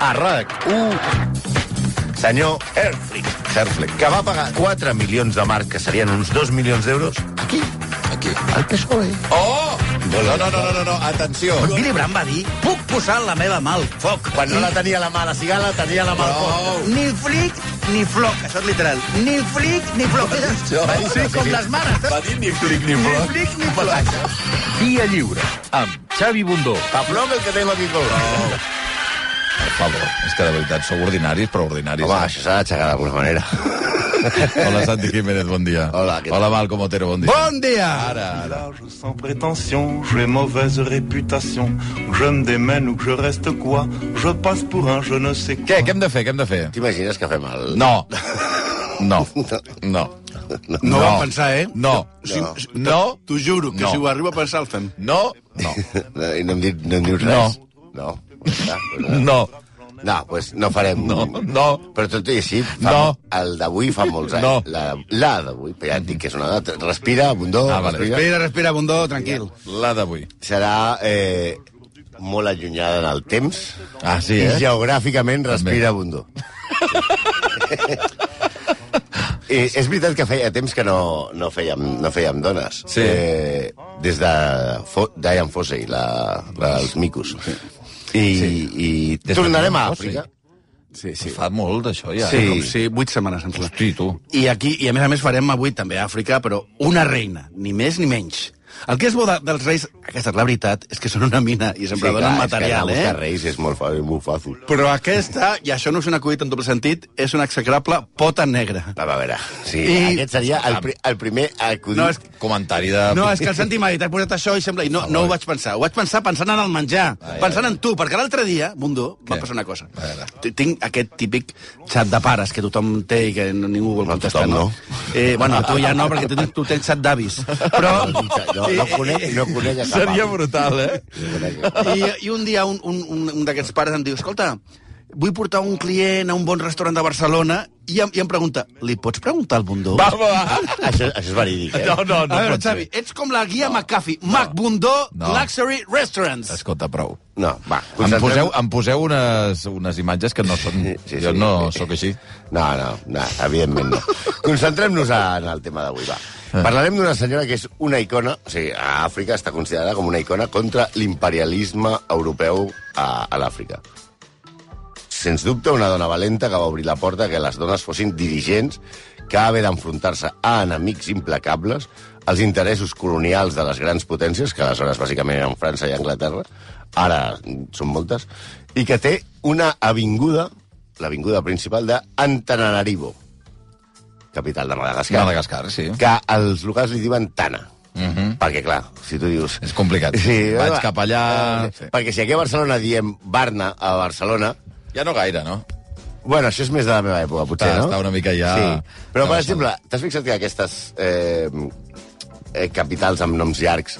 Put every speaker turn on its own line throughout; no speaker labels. a RAC1 senyor Herflick, Herflick, que va pagar 4 milions de marc, que serien uns 2 milions d'euros, aquí,
Aquí.
al PSOE.
Oh! No, no, no, no, no, atenció.
Billy Brandt va dir, puc posar la meva mà al foc.
Quan no la tenia a la mà, la cigala la tenia a la mà. al cor.
No.
Ni flic ni floc, això és literal. Ni flic ni floc.
això?
Va ser
Sí,
com
sí.
les mares. eh?
Va dir ni flic ni
Ni
floc.
flic ni floc.
Via Lliure, amb Xavi Bundó.
Paplón, el que tengo aquí colgado.
Per favor, és que de veritat, sou ordinaris, però ordinaris. eh?
Home, això s'ha d'aixecar d'alguna manera.
Hola, Santi Jiménez, bon dia.
Hola, què tal?
Hola, Malcom Otero, bon dia.
Bon dia!
Ara, ara.
Village sans prétention, j'ai mauvaise réputation. Que je me démène ou que je reste quoi, je passe pour un je ne sais quoi.
Què, què hem de fer, què hem de fer?
T'imagines que fem el...
No. No. No.
No, ho vam pensar, eh?
No.
Si,
No.
si-
No.
T'ho juro, que
No.
si ho arriba a pensar el fem.
No. No.
No, Eh, I no em, dit, no em dius res? No. No.
No.
No, pues no farem...
No, no.
Però tot i així, fa,
No.
el d'avui fa molts anys.
No.
La, la d'avui, però ja et dic que és una data. Respira, Bundó,
Ah, vale.
respira.
Respira, respira, Bundó, tranquil.
La d'avui.
Serà eh, molt allunyada en el temps
Ah, sí,
i
eh?
geogràficament respira, Bundó. I és veritat que feia temps que no, no, fèiem, no fèiem dones.
Sí.
Eh, des de Fo Diane Fossey, la, la dels micos. I, sí. i
Des de
tornarem a
Diane Fossey.
Àfrica.
Sí, sí.
Fa molt, això, ja.
Sí, com sí, vuit setmanes, em sembla.
Hosti, tu.
I aquí, i a més a més farem avui també a Àfrica, però una reina, ni més ni menys. El que és bo de, dels reis, aquesta és la veritat, és que són una mina i sempre sí, donen
clar, és
material,
que anar a buscar
eh?
Reis és molt, fa- molt fàcil.
Però aquesta, i això no és un acudit en doble sentit, és una execrable pota negra.
Va, a veure, sí, I...
I-
aquest seria el, pri el primer acudit.
No, és-
Comentari de...
No, és que el Santi m'ha dit, he posat això i sembla... I no, no ho vaig pensar. Ho vaig pensar pensant en el menjar,
Ah,
pensant en tu, perquè l'altre dia, Bundó, em va
Què?
passar una cosa.
A veure.
T- Tinc aquest típic xat de pares que tothom té i que no- ningú vol
No,
contestar.
tothom
Eh, bueno, tu ja no, perquè tu, tens- tu tens xat d'avis. Però...
No, no conec, no conec a cap
Seria
home.
brutal, eh?
No conec.
I, I un dia un, un, un, un d'aquests pares em diu, escolta, vull portar un client a un bon restaurant de Barcelona i em, i em pregunta, li pots preguntar al Bundó?
Va, va.
Això, això és verídic, eh?
No, no, no
a veure,
pot
Xavi,
ser.
ets com la guia no, McAfee, no, McBundó
No.
Luxury Restaurants.
Escolta, prou.
No, va.
Em
concentrem-
poseu, em poseu unes, unes imatges que no són...
eh? Sí, sí,
jo
sí.
no sóc així.
No, no, no evidentment no. Concentrem-nos a- en el tema d'avui, va.
Eh.
Parlarem d'una senyora que és una icona, o sigui, a Àfrica està considerada com una icona contra l'imperialisme europeu a, a l'Àfrica. Sens dubte, una dona valenta que va obrir la porta que les dones fossin dirigents que va haver d'enfrontar-se a enemics implacables, als interessos colonials de les grans potències, que aleshores bàsicament eren França i Anglaterra, ara són moltes, i que té una avinguda, l'avinguda principal de Antananarivo, capital de Madagascar,
Madagascar, sí.
que els locals li diuen Tana. Perquè, clar, si tu dius...
És complicat. Mhm. Vaig cap allà...
Sí. Perquè si aquí a Barcelona diem Barna a Barcelona,
Ja no gaire, no?
Bueno, això és més de la meva època, potser,
Està-
no?
està una mica ja-
Sí. Però,
ja
per
baixant.
exemple, t'has fixat que aquestes eh, eh, capitals amb noms llargs...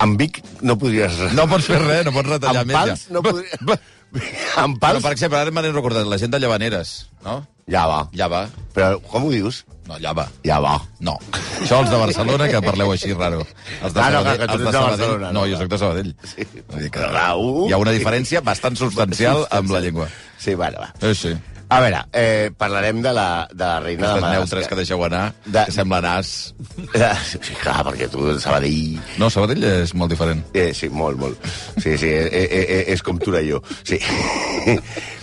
Amb Vic no podries...
No pots fer res, no pots retallar
amb
més.
pals
ja.
no podries... amb
Però,
pals...
per exemple, ara me n'he recordat, la gent de Llavaneres, no?
Ja va.
Llava.
Però com ho dius?
No, llava.
Ja va.
No. Això els de Barcelona, que parleu així raro. Els
Ah, no, clar, que
els
tu ets de Barcelona,
No,
no,
jo
clar.
sóc de Sabadell.
Sí.
Vull dir que
Rau.
Hi ha una diferència bastant substancial amb la llengua.
Sí, bueno, va.
Eh, sí.
A veure, eh, parlarem de la, de la reina de
Aquestes
Madagascar.
neutres que deixeu anar,
De-
que semblen as.
Sí, clar, perquè tu, Sabadell...
No, Sabadell és molt diferent.
Eh, sí, molt, molt. Sí, sí, eh, eh, eh, és com Torelló. Sí.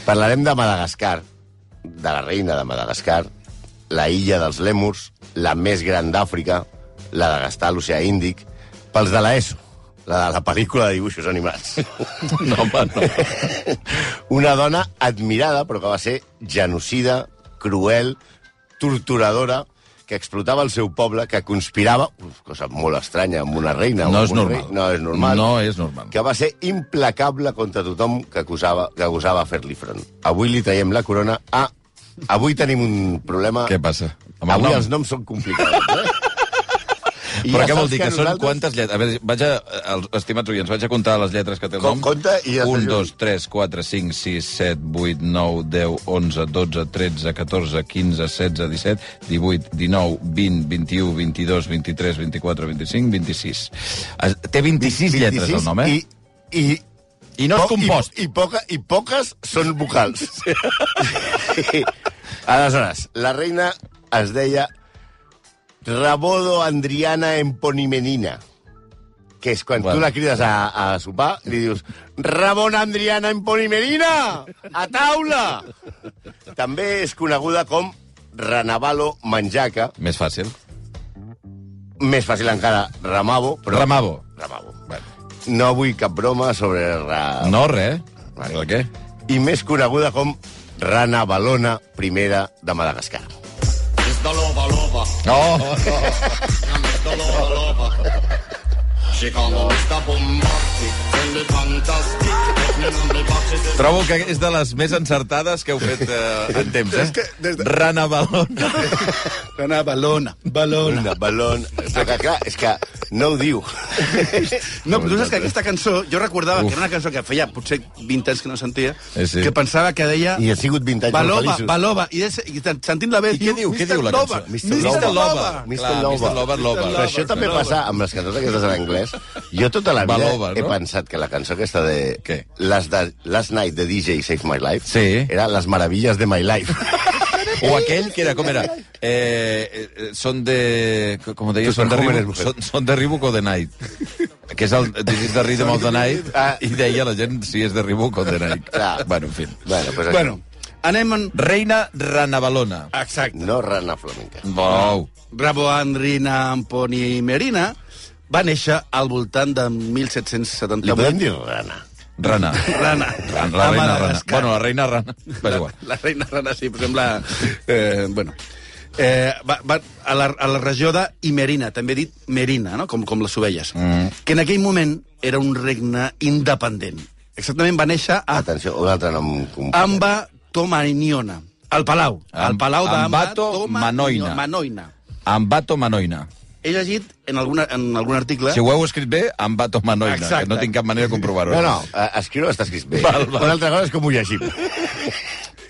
Parlarem de Madagascar, de la reina de Madagascar, la illa dels lèmurs, la més gran d'Àfrica, la de gastar a l'oceà Índic, pels de l'ESO, la de la pel·lícula de dibuixos animats.
No, home, no.
Una dona admirada, però que va ser genocida, cruel, torturadora, que explotava el seu poble, que conspirava, uf, cosa molt estranya, amb una reina. o
No
amb
és
un
normal.
rei. No és normal.
No és normal.
Que va ser implacable contra tothom que, acusava, que gosava fer-li front. Avui li traiem la corona a... Avui tenim un problema...
Què passa? Amb el
Avui
nom?
els noms són complicats, eh? I
Però què
ja saps
vol dir? Que, són
nosaltres-
quantes lletres? A veure, vaig a, els, estimats oients, vaig a comptar les lletres que té el
Com-
nom.
compta i ja
1,
t'ajudo.
2, 3, 4, 5, 6, 7, 8, 9, 10, 11, 12, 13, 14, 15, 16, 17, 18, 19, 20, 21, 22, 23, eh? 24, 25, 26. Es- Té 26, lletres el nom, eh?
I, i
I no és compost.
I, i, poca, I poques són vocals. Sí. Aleshores, la reina es deia Rabodo Andriana Emponimenina, que és quan
Bueno.
tu la crides a, a sopar i li dius Ramona Andriana Emponimenina, a taula! També és coneguda com Ranavalo Manjaca,
Més fàcil.
més fàcil encara, Ramabo, però...
Ramabo.
Ramabo. No vull cap broma sobre... Ra...
No, res.
Vale.
Vale. Què?
i més coneguda com Rana Balona, primera de Madagascar.
No, no, no. Trobo que és de les més encertades que heu fet eh, en temps, eh?
És que des de-
Rana Balona.
Dona balona, balona.
Una balon... Però que, clar, és que no ho diu.
No, però tu saps que aquesta cançó, jo recordava
Uf.
que era una cançó que feia potser 20 anys que no sentia,
Eh, sí.
que pensava que deia...
I ha sigut 20 anys molt
Balova,
feliços.
Balova, i, des, i sentint la veu...
I què diu? Què diu la cançó?
Mr. Lover. Mr. Lover.
Mr.
Clar,
Lover.
Mr. Lover, Lover.
Però això també passa amb les cançons aquestes en anglès. Jo tota la vida
Balova, no?
he pensat que la cançó aquesta de...
Què?
Last, de... Last Night de DJ Save My Life
Sí.
era Les Meravilles de My Life.
O aquell que era, com era? Eh, eh, són de... Com ho deia?
Tus
Són de,
jóvenes
Reebok,
mujeres.
són, són de Reebok o de Night. Que és el This is the Rhythm of the Night.
Ah.
I deia la gent si és de Reebok o de Night.
Clar.
Bueno, en fi.
bueno, pues això.
Bueno, anem en...
Reina Ranabalona.
Exacte.
No Rana Flamenca.
Wow.
Rabo Andrina Amponi Merina va néixer al voltant de
Li
1778.
podem dir Rana?
Rana.
Rana.
Rana. La
A
reina Rana.
Madagascar.
Bueno, la reina Rana. Va, igual.
La reina Rana, sí, però sembla... Eh, bueno. Eh, va, va a, la, a la regió de Imerina, també dit Merina, no? com, com les ovelles, mm. que en aquell moment era un regne independent. Exactament va néixer a
Ah,
Atenció, un altre nom...
Ah,
complet.
Amba Tomaniona, al Palau. Al
Am-
Palau d'Amba
Ambato Manoina.
Manoina.
Ambato Manoina.
He llegit en, alguna, en algun article...
Eh?
Si ho heu escrit bé, Ambato Manoina,
Exacte.
que no tinc cap manera de comprovar-ho.
No, no, eh, escriure està escrit bé.
Val, val.
Una altra cosa és com ho llegim.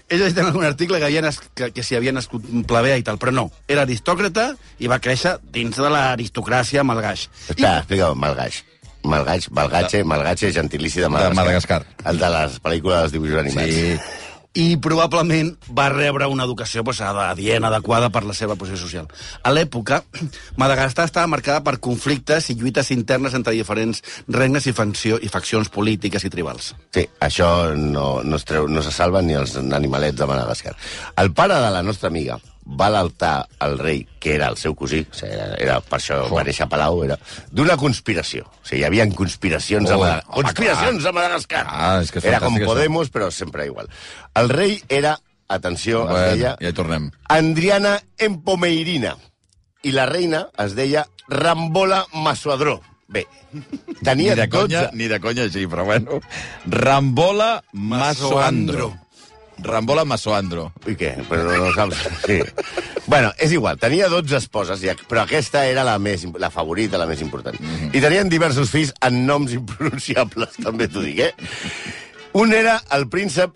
He llegit en algun article que, havia nas... que, que s'hi havia nascut un plebea i tal, però no. Era aristòcrata i va créixer dins de l'aristocràcia malgaix.
Espera, explica-ho, Malgaix. Malgaix, Malgatxe, Malgatxe, gentilici de Madagascar.
Madagascar.
El de les pel·lícules dels dibuixos animats.
Sí.
I probablement va rebre una educació pues, adient, adequada per la seva posició social. A l'època, Madagascar estava marcada per conflictes i lluites internes entre diferents regnes i, fanció, i faccions polítiques i tribals.
Sí, això no, no, es treu, no se salven ni els animalets de Madagascar. El pare de la nostra amiga va alertar el rei, que era el seu cosí, o sigui, era, era per això oh. va néixer a Palau, era d'una conspiració. O sigui, hi havia conspiracions,
Oh,
a, Madagascar.
home,
conspiracions a Madagascar.
Ah, és que és
era com
fantàstic, això.
Podemos, però sempre igual. El rei era, atenció,
Bueno,
es deia...
ja hi tornem.
Andriana Empomeirina. I la reina es deia Rambola Masuadró. Bé,
Ni
tenia
de
12...
conya, ni de conya així, però bueno. Rambola Masoandro. Rambola Masoandro.
I què? Però no, no saps... Sí. Bueno, és igual, tenia 12 esposes, ja, però aquesta era la, més, imp- la favorita, la més important. Mm
Mhm.
-hmm. I tenien diversos fills amb noms impronunciables, també t'ho dic, eh? Un era el príncep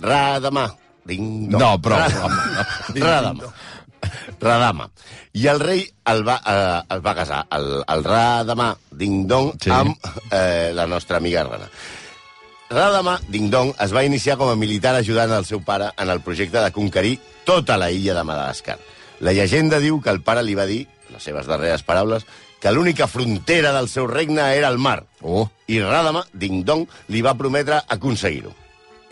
Radamà. Ding, dong.
No, però...
Radamà. Radama. Radama. I el rei el va, eh, el va casar, el, el Radama Ding Dong,
Sí.
sí. amb eh, la nostra amiga Rana. Radama Ding Dong es va iniciar com a militar ajudant el seu pare en el projecte de conquerir tota la illa de Madagascar. La llegenda diu que el pare li va dir, les seves darreres paraules, que l'única frontera del seu regne era el mar.
Oh,
I Radama, Ding Dong, li va prometre aconseguir-ho.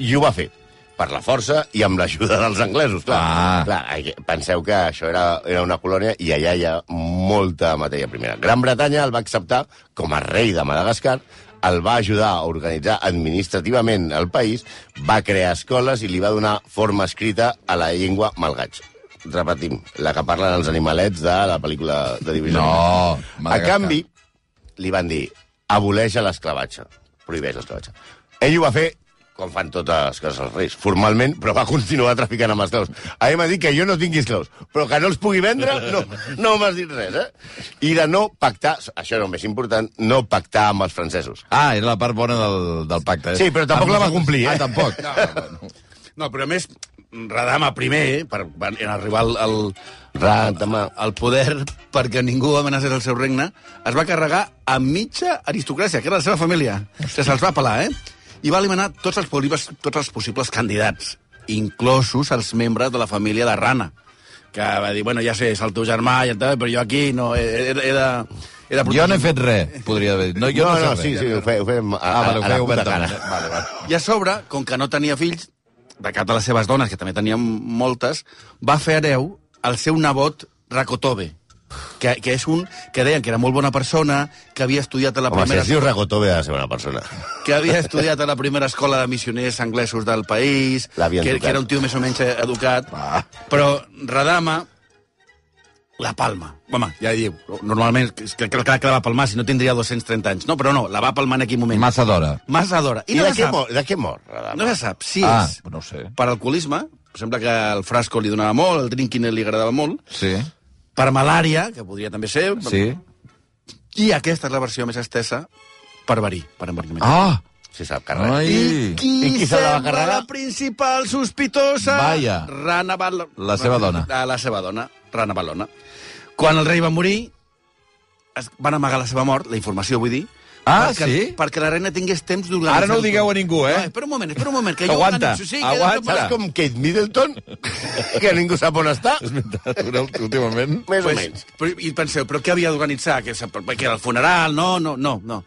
I ho va fer, per la força i amb l'ajuda dels anglesos, clar.
Ah.
clar. ai, Penseu que això era, era una colònia i allà hi ha molta matèria primera. Gran Bretanya el va acceptar com a rei de Madagascar, el va ajudar a organitzar administrativament el país, va crear escoles i li va donar forma escrita a la llengua malgaig. Repetim, la que parlen els animalets de la pel·lícula de Divisió.
No,
A
Madagascar.
canvi, li van dir aboleix l'esclavatge, prohibeix l'esclavatge. Ell ho va fer com fan totes les coses els reis, formalment, però va continuar traficant amb esclaus. A mi m'ha dit que jo no tingui esclaus, però que no els pugui vendre, no, no m'has dit res, eh? I de no pactar, això era el més important, no pactar amb els francesos.
Ah, era la part bona del, del pacte. Eh?
Sí, però tampoc la va complir, eh?
Ah, tampoc. No, bueno.
No, però a més, Radama primer, eh, per, van- en arribar al, al,
Radama.
al poder perquè ningú amenacés el seu regne, es va carregar a mitja aristocràcia, que era la seva família. Se se'ls va pelar, eh? i va eliminar tots els, polibes, tots els possibles candidats, inclosos els membres de la família de Rana, que va dir, bueno, ja sé, és el teu germà, ja tal, però jo aquí no, he, he, he de... He de
Jo no he
protegir-me".
fet res, podria haver dit. No, jo no,
no,
sé
sí,
res.
sí, ho, fe, ho fèiem a,
Ah, vale, ho
a, a la
feia
puta
obert.
cara.
Vale, vale.
I a sobre, com que no tenia fills, de cap de les seves dones, que també tenien moltes, va fer hereu el seu nebot Rakotove, que, que és un que deien que era molt bona persona, que havia estudiat a la
Home, si
primera
es diu Ragotove de la segona persona.
que havia estudiat a la primera escola de missioners anglesos del país,
L'havien
que,
educat.
que era un tio més o menys educat,
Va.
però Radama la palma. Home, ja diu, normalment crec que, que, que la va palmar, si no tindria 230 anys. No, però no, la va palmar en aquell moment.
Massa d'hora.
Massa d'hora.
I,
I, no
de,
se
què
sap.
mor, de què mor? Radama?
No se sap si
Ah,
és
no ho sé.
per alcoholisme, sembla que el frasco li donava molt, el drinking li agradava molt,
Sí,
per malària, que podria també ser,
sí.
i aquesta és la versió més estesa per verí, per enverinament.
Ah!
Se sap que res.
Ai!
I qui se la va carregar?
La principal sospitosa...
Vaja.
Rana Val...
La seva dona.
Ah, La seva dona, Rana Valona. Quan el rei va morir, es van amagar la seva mort, la informació, vull dir,
Ah,
perquè,
sí?
Perquè la reina tingués temps d'organitzar...
Ara no ho digueu a ningú, eh?
No, espera un moment, espera un moment, que
Aguanta,
jo... organitzo, Sí, que
aguanta.
després-
Saps com Kate Middleton? que ningú sap on està?
És veritat, últimament...
Més o
Pues,
menys.
Però, I penseu, però què havia d'organitzar? Que, se- que era el funeral? No, no, no, no.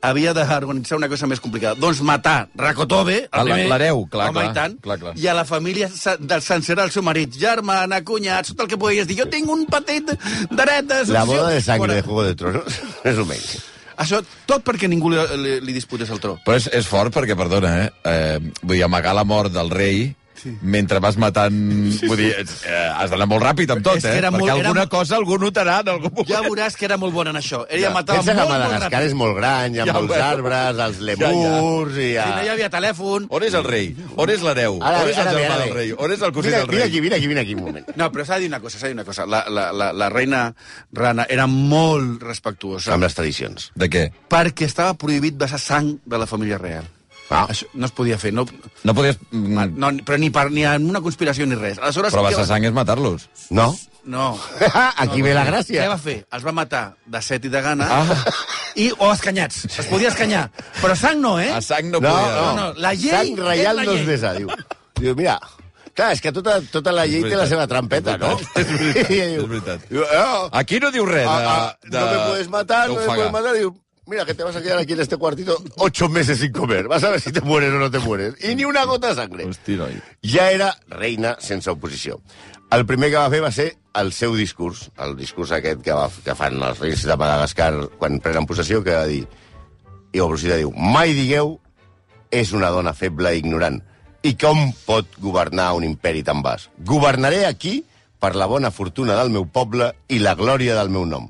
Havia d'organitzar una cosa més complicada. Doncs matar Rakotove,
Ah,
el primer,
l'hereu, clar,
home,
clar,
i tant,
clar, clar.
i a la família sa- del sencera, el seu marit, germana, cunyats, tot el que podies dir. Jo tinc un petit dret de...
La boda
successió.
de sangre
Fora.
de Juego de Tronos, més o menys.
Això, tot perquè ningú li, li, li disputés el tro.
Però és, és fort perquè, perdona, eh? eh vull dir, amagar la mort del rei sí. mentre vas matant... Sí. Vull dir, és- eh, has d'anar molt ràpid amb tot,
És que
eh?
era
Perquè
molt- era
alguna
molt-
cosa algú notarà en algun moment.
Ja veuràs que era molt bona en això. Ella ja. matava
Pensa
molt,
que
molt
Madagascar
ràpid.
és molt gran, hi ha
Ja,
molts
bueno.
arbres, els
ja.
lemurs... i
Si no hi
ha...
havia telèfon...
On és el rei? On és l'hereu?
Ara
On
bé,
és el
ara bé,
germà
ara
del
bé.
rei? On és el cosí
Vine,
del rei?
vine aquí, vine aquí, vine aquí un moment.
No, però s'ha de dir una cosa, s'ha de dir una cosa. La, la, la, la reina Rana era molt respectuosa
Amb les tradicions.
De què?
perquè estava prohibit vessar sang de la família real.
Ah.
Això no es podia fer, no, Ah,
No podies... Mm,
no, però ni, per, ni en una conspiració ni res. Aleshores,
però
què
vas a
va-
sang és matar-los.
No?
No.
Aquí ve la gràcia.
Què va fer? Els va matar de set i de gana ah. i, o escanyats. Es podia escanyar. Però sang no, eh?
A Ah, sang no,
No,
podia.
no,
no, la llei
Sang
és
reial
la
no es
llei.
besa, diu. Diu, mira, clar, és que tota, tota la llei té la
veritat.
seva trampeta, no?
És veritat,
I ella diu,
és veritat.
diu, "Oh,
Aquí no diu res de...
ah, ah,
de
no me puedes matar, no me
d'ofegar.
puedes matar. Digo, mira, que te vas a quedar aquí en este cuartito ocho meses sin comer. Vas a ver si te mueres o no te mueres. Y ni una gota de sangre.
Hosti, noi.
Ja era reina sense oposició. El primer que va fer va ser el seu discurs, el discurs aquest que, va, que fan els reis de Madagascar quan prenen possessió, que va dir... I Obrosita diu, mai digueu és una dona feble i ignorant. I com pot governar un imperi tan vast? Governaré aquí per la bona fortuna del meu poble i la glòria del meu nom.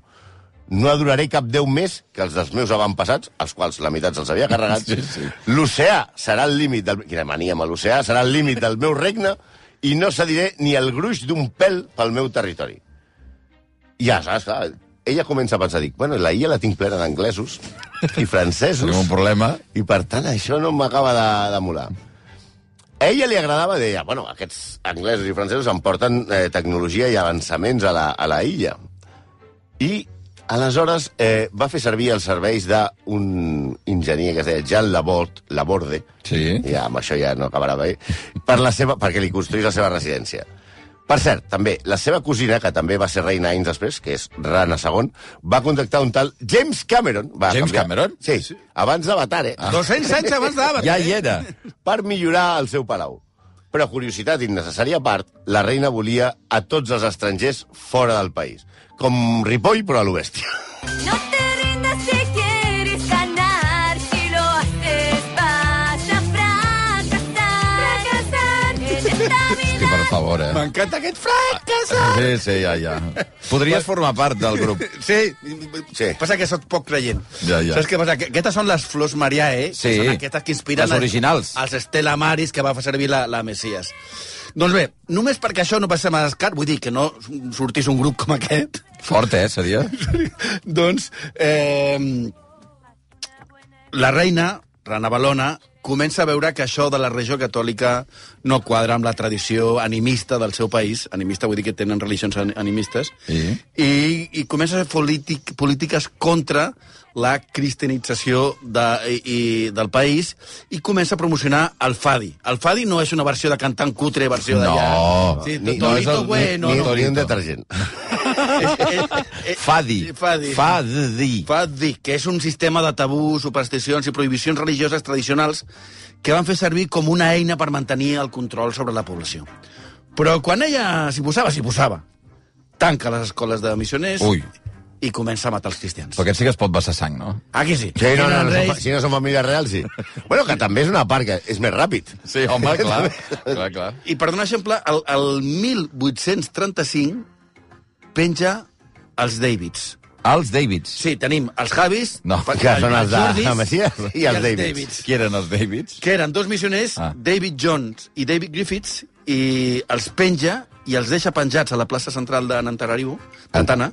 No adoraré cap déu més que els dels meus avantpassats, els quals la meitat se'ls havia carregat.
Sí, sí.
L'oceà serà el límit del... Quina mania amb l'oceà. Serà el límit del meu regne i no cediré ni el gruix d'un pèl pel meu territori. I ja saps, clar, ella comença a pensar, dic, bueno, la illa la tinc plena d'anglesos i francesos
Tenim un problema.
i per tant això no m'acaba de, de molar. A ella li agradava, deia, bueno, aquests anglesos i francesos em porten eh, tecnologia i avançaments a la, a la illa. I aleshores eh, va fer servir els serveis d'un enginyer que es deia Jean Laborde, Laborde
Sí.
ja amb això ja no acabarà bé, per la seva, perquè li construís la seva residència. Per cert, també, la seva cosina, que també va ser reina anys després, que és Rana II, va contactar un tal James Cameron. Va
James Cameron?
Sí, abans d'Avatar, eh? Ah.
200 anys abans d'Ava.
Ja hi era.
Per millorar el seu palau. Però, curiositat innecessària a part, la reina volia a tots els estrangers fora del país. Com Ripoll, però a l'oest.
No te rindas si quieres ganar, si lo haces vas a fracasar. Fracasar en esta
Sí,
vida.
per favor, eh?
M'encanta aquest fracassat.
Sí, sí, ja, ja. Podries formar part del grup.
Sí,
Sí.
sí. Passa que sóc poc creient.
Ja, ja.
Saps què passa? Que aquestes són les flors Mariae,
Sí.
que són aquestes que inspiren...
Les originals.
Els, els Estela Maris que va fer servir la, la Messias. Doncs bé, només perquè això no passem a Madagascar, vull dir que no sortís un grup com aquest,
Fort, eh, seria?
doncs eh, la reina, Rana Balona, comença a veure que això de la religió catòlica no quadra amb la tradició animista del seu país. Animista vull dir que tenen religions an- animistes.
Sí.
I, i comença a fer polític, polítiques contra la cristianització de, i, i, del país i comença a promocionar el Fadi. El Fadi no és una versió de cantant cutre, versió d'allà.
No.
Sí,
Ni-
Torito
no és
el-
Bueno. no. Eh,
ni, ni un
Torito.
detergent.
Fadi.
Fadi.
Fadi.
va dir que és un sistema de tabús, supersticions i prohibicions religioses tradicionals que van fer servir com una eina per mantenir el control sobre la població. Però quan ella s'hi posava, s'hi posava. Tanca les escoles de missioners
Ui.
i comença a matar els cristians.
Però aquest sí que es pot vessar sang, no?
Aquí sí.
Sí, no, no, no,
Reis,
som, si no som família real, sí. Bueno, que també és una part que és més ràpid.
Sí, home, clar. clar, clar.
I per donar exemple, el, el 1835 penja els Davids.
Els Davids.
Sí, tenim els Javis,
No,
que són els de
Jordis
la Messias i els Davids.
Qui eren els Davids?
que eren dos missioners,
Ah.
ah. David Jones i David Griffiths, i els penja i els deixa penjats a la plaça central de Nantarariu, de Tana,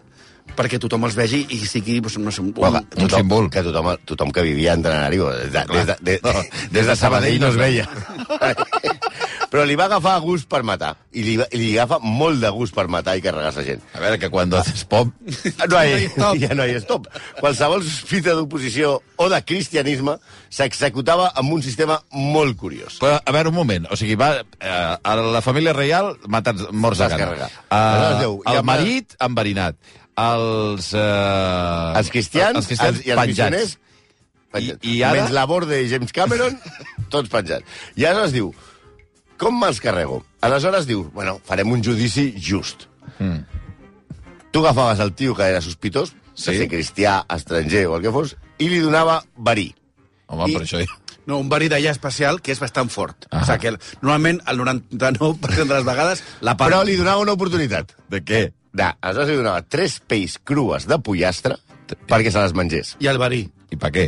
perquè tothom els vegi i sigui doncs, no sé, un,
Bueno,
un,
que tothom,
símbol.
Que tothom, tothom que vivia entre Nariu, des de, des de, de,
No,
des de Sabadell no es veia. Però li va agafar gust per matar. I li, va- i li agafa molt de gust per matar i carregar-se gent.
A veure, que quan haces pop...
No
No hi,
hi ha stop.
ja no hi ha stop. Qualsevol sospita d'oposició o de cristianisme s'executava amb un sistema molt curiós.
Però, a veure, un moment. O sigui, va, eh, a la família reial matats morts de gana.
Descarregar. Aleshores
Eh,
diu, i
el
amb-
marit enverinat. Els... Eh,
Els cristians,
els cristians
els- i els missioners,
penjats.
Penjats.
I- i ara?
Menys la borda i James Cameron, tots penjats. I ara es diu, com me'ls carrego? Aleshores diu, bueno, farem un judici just. Mm. Tu agafaves el tio que era sospitós, sí.
Sí.
de ser cristià, estranger o el que fos, i li donava verí.
Home,
I-
per això...
no, un verí d'allà especial que és bastant fort.
Ah.
Ah. O sigui, que normalment el 99% de les vegades la
Però
parla.
li donava una oportunitat.
De què?
De, aleshores li donava tres pells crues de pollastre perquè se les mengés.
I el verí.
I per què?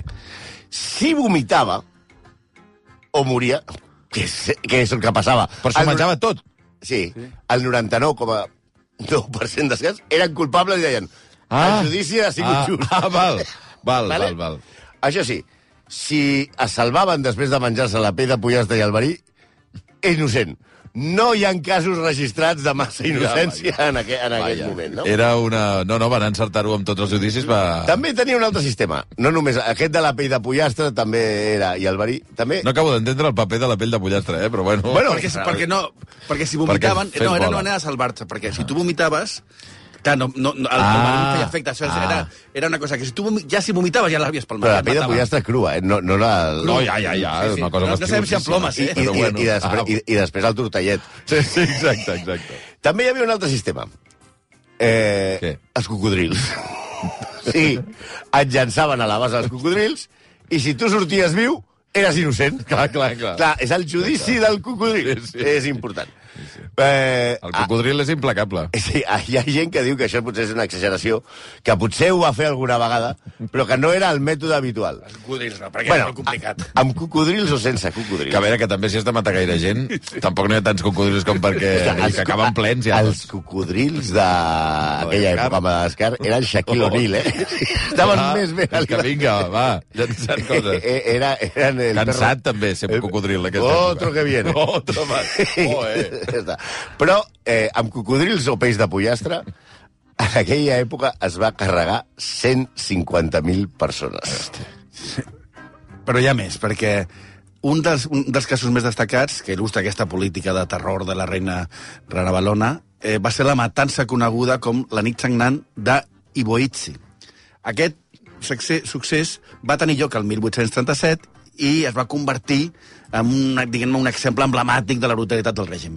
Si vomitava o moria, que és, que és el que passava.
Però s'ho
El-
menjava tot.
Sí, el 99,9% dels cas eren culpables i deien ah, el judici ha sigut
ah,
just.
Ah, val, val,
Vale?
val, val.
Això sí, si es salvaven després de menjar-se la pell de pollastre i el verí, innocent. No hi ha casos registrats de massa innocència en, aqu en aquest moment, no?
Era una... No, no, van encertar-ho amb tots els judicis, va...
També tenia un altre sistema. No només aquest de la pell de pollastre, també era... I el verí, també...
No acabo d'entendre el paper de la pell de pollastre, eh? Però bueno...
Bueno,
perquè, perquè, no, perquè si vomitaven...
fes
Perquè no, era
bola.
una manera de salvar-se, perquè si tu vomitaves... Clar, no, no, no, el, ah,
Ah.
el verí feia efecte. Això
Ah.
era, era una cosa que si tu vomi- ja si vomitaves ja l'havies palmat.
Però
ja
la
et
pell de
matava.
pollastre crua, eh? No, no la... Ah,
No, ja, ja, ja, és una cosa
No- no
bastant
sabem si amb plomes,
I,
curiosíssima,
eh?
i,
però
i,
bueno. Ah,
i, després, i, i després el tortellet.
Sí, sí, exacte, exacte.
També hi havia un altre sistema. Eh,
Què?
Els cocodrils. sí, et llançaven a la base dels cocodrils i si tu sorties viu, eres innocent.
Clar, clar, clar.
Clar, és el judici del cocodril.
Sí,
Sí,
sí.
sí. És important. Sí, sí. Eh,
El
a-
cocodril és implacable.
Sí, hi ha gent que diu que això potser és una exageració, que potser ho va fer alguna vegada, però que no era el mètode habitual.
Cocodrils, no, perquè és
Bueno,
molt complicat.
a- amb cocodrils o sense cocodrils?
Que a veure, que també si has de matar gaire gent, tampoc no hi ha tants cocodrils com perquè els que acaben plens ja.
Els cocodrils d'aquella
Madagascar.
època a Madagascar eren Shaquille O'Neal, eh?
Oh.
Estaven
Ah,
més ben
és que vinga, va, llançant coses.
Eh, Era, eren el
Cansat, també, ser cocodril, en aquesta
Eh, Otro
època.
que viene.
Otro, va. Oh, eh.
Ja està. Però eh, amb cocodrils o peix de pollastre, en aquella època es va carregar 150.000 persones.
Però hi ha més, perquè un dels, un dels casos més destacats que il·lustra aquesta política de terror de la reina Rana Balona eh, va ser la matança coneguda com la nit sagnant de Iboitzi. Aquest succe- succés va tenir lloc el 1837 i es va convertir en un, diguem un exemple emblemàtic de la brutalitat del règim.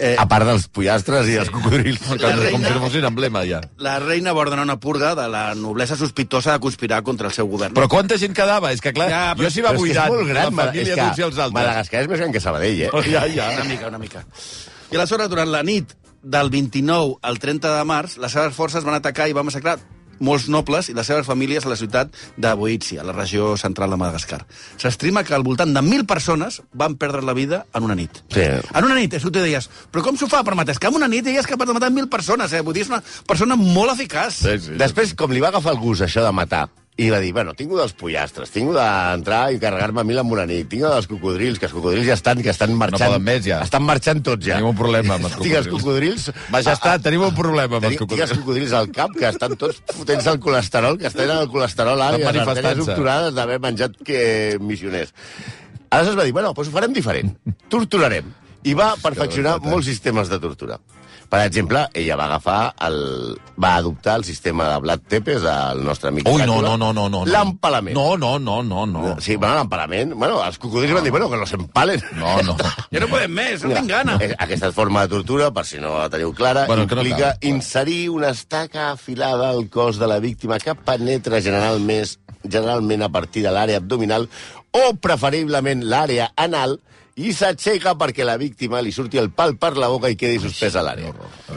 Eh, a part dels pollastres i dels cocodrils.
Com, com
reina-
si fossin emblema, ja.
La reina va ordenar una purga de la noblesa sospitosa de conspirar contra el seu govern.
Però quanta gent quedava? És que, clar, ja,
Ja, però-
jo s'hi va
Però és que
buidant.
És molt gran,
la
Mada-
família
és que
d'uns i els altres.
Madagascar és més gran que Sabadell, eh?
Oh, ja, ja.
Una mica, una mica. I aleshores, durant la nit del 29 al 30 de març, les seves forces van atacar i van massacrar molts nobles i les seves famílies a la ciutat de Boitsi, a la regió central de Madagascar. S'estima que al voltant de 1.000 persones van perdre la vida en una nit.
Sí.
En una nit, és tu deies, però com s'ho fa per matar? És que en una nit ella és capaç de matar 1.000 persones, eh? Vull dir, és una persona molt eficaç.
Sí, sí.
Després, com li va agafar el gust, això de matar, I va dir, bueno, tinc dels pollastres, tinc d'entrar i carregar-me a mil amb una nit, tinc dels cocodrils, que els cocodrils ja estan, que estan marxant...
poden més, ja.
Estan marxant tots, ja.
Tenim un problema amb els
Tinc els cocodrils...
Majestat, tenim un problema amb els
Tinc, tinc els
cocodrils.
cocodrils al cap, que estan tots fotents al colesterol, que estan al colesterol alt
Estan
i les artèries
manifestant-se.
obturades d'haver menjat que missioners. Aleshores va dir, bueno, doncs ho farem diferent. Torturarem. I va perfeccionar
brutal, eh?
molts sistemes de tortura. Per exemple, ella va agafar el... va adoptar el sistema de Vlad Tepes, el nostre amic...
Ui, no,
Dràcula.
no, no, no. no.
L'empalament.
No, no, no, no, no.
Sí, bueno, l'empalament. Bueno, els cocodrils van dir, bueno, que los empalen.
No, no.
Ja no podem més, no tinc gana.
Eh, Aquesta forma de tortura, per si no la teniu clara,
Bueno,
bueno,
que no
implica
cal.
no inserir una estaca afilada al cos de la víctima que penetra general més, generalment a partir de l'àrea abdominal o preferiblement l'àrea anal i s'aixeca perquè la víctima li surti el pal per la boca i quedi suspesa a l'àrea.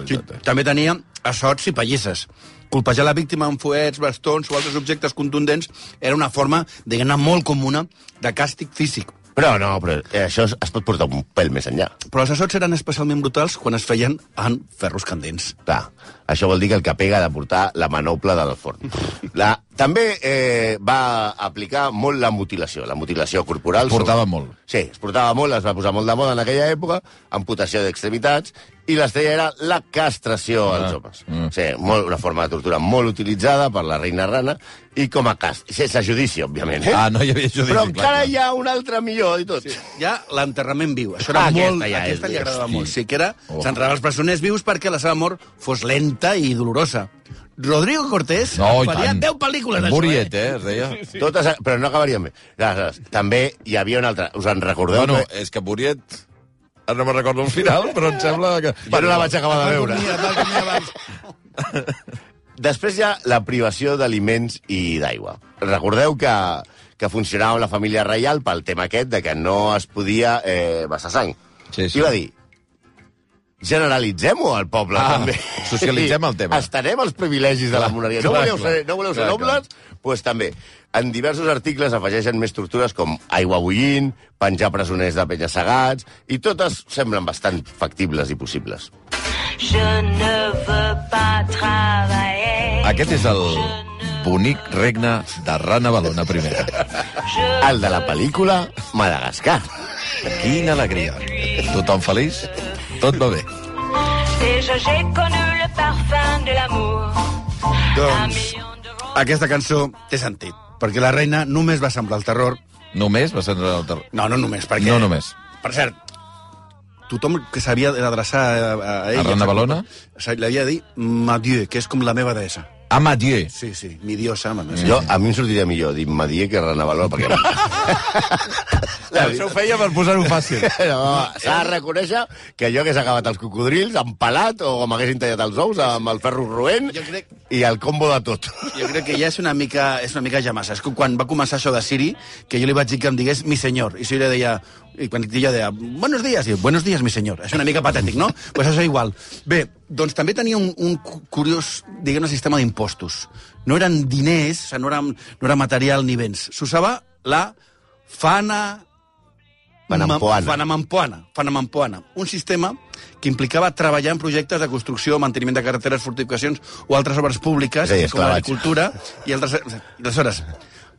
Sí,
eh.
també tenia assots i pallisses. Colpejar la víctima amb fuets, bastons o altres objectes contundents era una forma, diguem-ne, molt comuna de càstig físic.
Però no, però eh, això es, es pot portar un pèl més enllà.
Però els assots eren especialment brutals quan es feien en ferros candents.
Clar, això vol dir que el que pega ha de portar la manopla del forn. La, també eh, va aplicar molt la mutilació, la mutilació corporal.
Portava molt.
Sí, es portava molt, es va posar molt de moda en aquella època, amputació d'extremitats, i l'estrella era la castració als homes.
mm.
Sí, molt, una forma de tortura molt utilitzada per la reina rana, i com a cast... Sense judici, òbviament, eh?
Ah, no hi havia judici,
Però
clar,
encara
clar.
hi ha un altre millor i tot. Sí.
Ja l'enterrament viu. Això era
Ah, aquesta
molt...
ja és-
aquesta li agradava
hosti.
molt. Sí que era...
Oh.
S'enterrava els presoners vius perquè la seva mort fos lenta i dolorosa. Rodrigo Cortés
No, i
faria
tant.
10 pel·lícules d'això, eh?
Buriet, eh, es deia.
Sí. Totes, però no acabaríem bé. Aleshores, També hi havia un altre. Us en recordeu?
Bueno,
que-
és que Buriet... Ara no me'n recordo el final, però em sembla que...
Jo no la vaig acabar de veure.
Dormia, va dormir abans.
Després hi ha la privació d'aliments i d'aigua. Recordeu que, que funcionava amb la família reial pel tema aquest de que no es podia eh, vessar sang.
Sí, sí.
I va dir, generalitzem-ho al poble,
Ah,
també.
socialitzem el tema.
Estarem els privilegis de la monarquia. No
clar,
voleu
clar.
ser, no voleu ser
Clar, clar.
nobles? Doncs pues també. En diversos articles afegeixen més tortures com aigua bullint, penjar presoners de penya-segats, i totes semblen bastant factibles i possibles.
Je ne veux pas travailler.
Aquest és el bonic regne de Rana Balona primera.
El de la pel·lícula Madagascar.
Quina alegria. Tothom feliç, tot va bé.
Déjà j'ai connu le parfum de l'amour. Un
Doncs
million de roses.
aquesta cançó té sentit, perquè la reina només va semblar el terror.
Només va ser el terror.
No, no només, perquè...
No només.
Per cert, tothom que s'havia d'adreçar a, a ella...
Rana Balona?
se- L'havia de dir Madieu, que és com la meva deessa.
Amadieu.
Sí, sí, mi diosa, ma
Jo, a mi em sortiria millor dir Madier que Renavalor, perquè...
Això ho feia per posar-ho fàcil.
No, s'ha de reconèixer que jo hagués acabat els cocodrils empalat o m'haguessin tallat els ous amb el ferro roent
Jo crec-
i el combo de tot.
Jo crec que ja és una mica, és una mica ja massa. És com quan va començar això de Siri, que jo li vaig dir que em digués mi senyor, i Siri deia... I quan ella deia, buenos días, i jo, buenos días, mi senyor. És una mica patètic, no? pues això és igual. Bé, doncs també tenia un, un cu- curiós, diguem-ne, sistema d'impostos. No eren diners, o sigui, no, era, no era material ni béns. S'usava la fana...
Fanampoana.
Fanamampoana. Fanamampoana. Un sistema que implicava treballar en projectes de construcció, manteniment de carreteres, fortificacions o altres obres públiques,
És a dir,
com
esclavatge.
l'agricultura i altres... i Aleshores,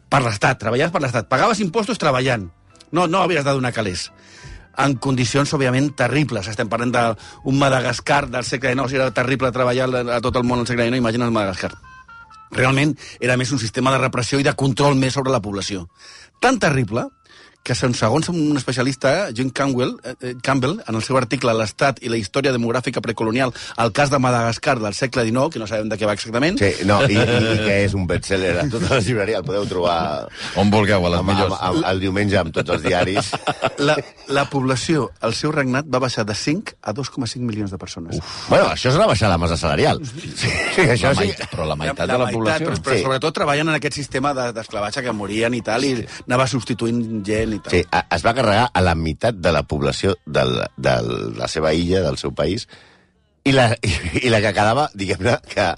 per l'Estat, treballaves per l'Estat. Pagaves impostos treballant. No, no havies de donar calés. En condicions, òbviament, terribles. Estem parlant d'un Madagascar del segle XIX. O sigui, era terrible treballar a tot el món al segle XIX. Imagina el Madagascar realment era més un sistema de repressió i de control més sobre la població. Tan terrible que, sen- segons un especialista, Jim Campbell, eh, eh, Campbell en el seu article L'estat i la història demogràfica precolonial al cas de Madagascar del segle XIX, que no sabem de què va exactament,
Sí, no, i, i, i que és un bestseller a totes les llibreries, el podeu trobar
On vulgueu, a les
amb, amb,
millors.
amb, el diumenge amb tots els diaris.
la, la població, al seu regnat, va baixar de 5 a 2,5 milions de persones. Uf.
Bueno, això és una baixada de massa salarial. Sí,
La
això sí.
meitat, però la meitat de la
Però,
població.
però
Sí.
sobretot treballen en aquest sistema de- d'esclavatge de, que morien i tal, i anava substituint gent i tal.
Sí, a- es va carregar a la meitat de la població del, de la seva illa, del seu país, i la, i la que quedava, diguem-ne, que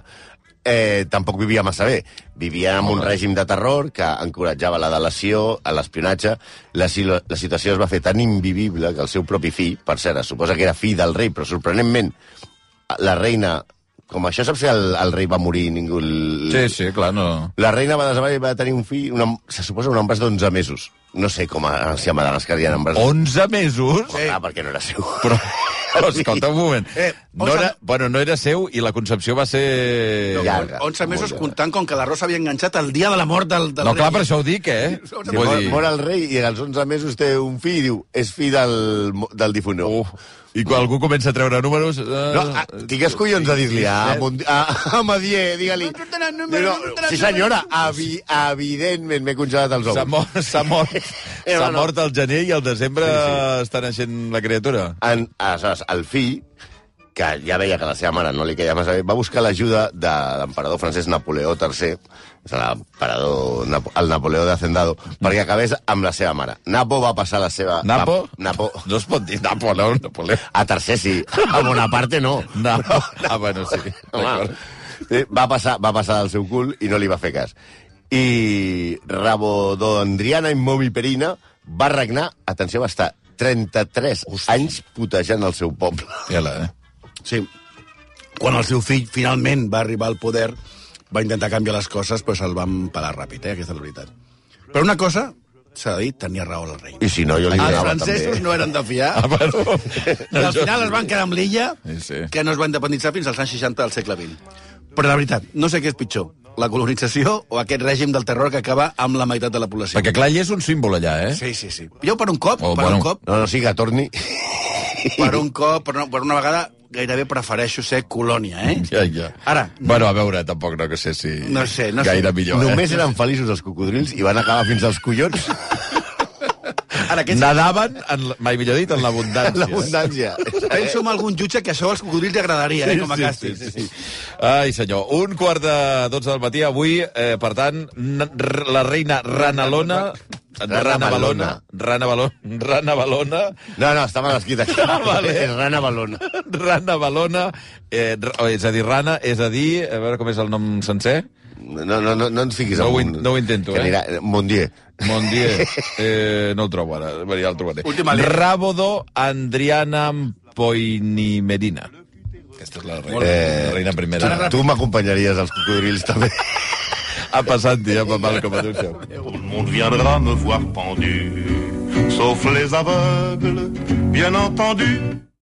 eh, tampoc vivia massa bé. Vivia en un règim de terror que encoratjava la delació, a l'espionatge. La, si- la situació es va fer tan invivible que el seu propi fill, per cert, es suposa que era fill del rei, però sorprenentment la reina Com això saps si el, el rei va morir i ningú... El...
Sí, sí, clar, no...
La reina va desaparèixer i va tenir un fill, una, se suposa un embràs d'11 mesos. No sé com a, si a Madagascar hi ha embràs...
11 mesos?
Clar, perquè no era seu.
Però, però escolta un moment.
Eh,
No era, bueno, no era seu i la concepció va ser...
Ja.
Ja.
Llarga,
11 mesos
molt
comptant com que la Rosa havia enganxat el dia de la mort del, del
No, clar,
rei.
per això ho dic, eh?
Vull
Vull mor,
dir-
mor el rei i als 11 mesos té un fill i diu és fill del, mo- del difunt.
Uh, I quan algú comença a treure números... Eh,
No, a, digues collons de dir-li a, Mond- a, a Madier, digue-li.
No tenen
No,
número,
no,
no tenen
sí senyora, evi, evidentment m'he congelat els
S'ha
ous.
mort, s'ha mort,
Eh, no,
s'ha
no.
mort al gener i al desembre està naixent la criatura.
En, aleshores, el fill, que ja veia que la seva mare no li queia massa bé, va buscar l'ajuda de l'emperador francès Napoleó III, és l'emperador, Napo- el Napoleó de Hacendado, perquè acabés amb la seva mare. Napo va passar la seva...
Napo?
Na- Napo.
No es pot dir Napo, no? Napoleó.
A tercer sí, a Bonaparte no.
Napo. Ah, bueno, sí.
Home,
D'acord.
eh, va, passar, va passar del seu cul i no li va fer cas. I Rabodondriana Immomiperina va regnar, atenció, va estar 33 Hosti. anys putejant el seu poble.
Fiela, eh?
Sí. Quan el seu fill finalment va arribar al poder, va intentar canviar les coses, però se'l van pelar ràpid, eh? Aquesta és la veritat. Però una cosa, s'ha de dir, tenia raó el rei.
I si no, jo li
Ah, Els
donava
francesos
també. eh?
no eren de fiar.
Ah, bueno.
I al final es van quedar amb l'illa,
Sí, sí.
que no es va independitzar fins als anys 60 del segle XX. Però la veritat, no sé què és pitjor, la colonització o aquest règim del terror que acaba amb la meitat de la població.
Perquè, clar, ell és un símbol allà, eh?
Sí, sí, sí. Jo per un cop,
Oh,
per
bueno.
un cop,
No, no, sí que torni.
per un cop, per una, per una vegada, gairebé prefereixo ser colònia, eh?
Ja, ja.
Ara,
Bueno, a veure, tampoc no que sé si...
No sé, no sé.
gaire millor, eh?
Només eren feliços els cocodrils i van acabar fins als collons.
ara aquests...
Nadaven, en, la- mai millor dit, en l'abundància.
L'abundància.
Penso en algun jutge que això als cocodrils li agradaria, eh, com a càstig. Sí, sí, sí.
Ai, senyor, un quart de 12 del matí avui, eh, per tant, n- r- la reina Ranalona... Rana Balona. Rana Balona. Rana Balona.
No, no, estava escrit aquí.
Ah, vale.
És rana balona.
Rana Balona. Eh, r- és a dir, Rana, és a dir... A veure com és el nom sencer.
No, no, no, no ens fiquis
No
en
ho
un-
in- no ho intento,
que
eh?
Anirà... Mondier.
Bon dia. Eh, no el trobo ara, Bé, ja el trobaré.
Última lletra.
Rabodo Andriana Poinimerina. Aquesta és la reina, eh, la reina primera.
Tu, tu m'acompanyaries als cocodrils, també.
A passant, ja, pa mal, com a tu, seu.
Tout le monde viendra me voir pendu, sauf les aveugles, bien entendu.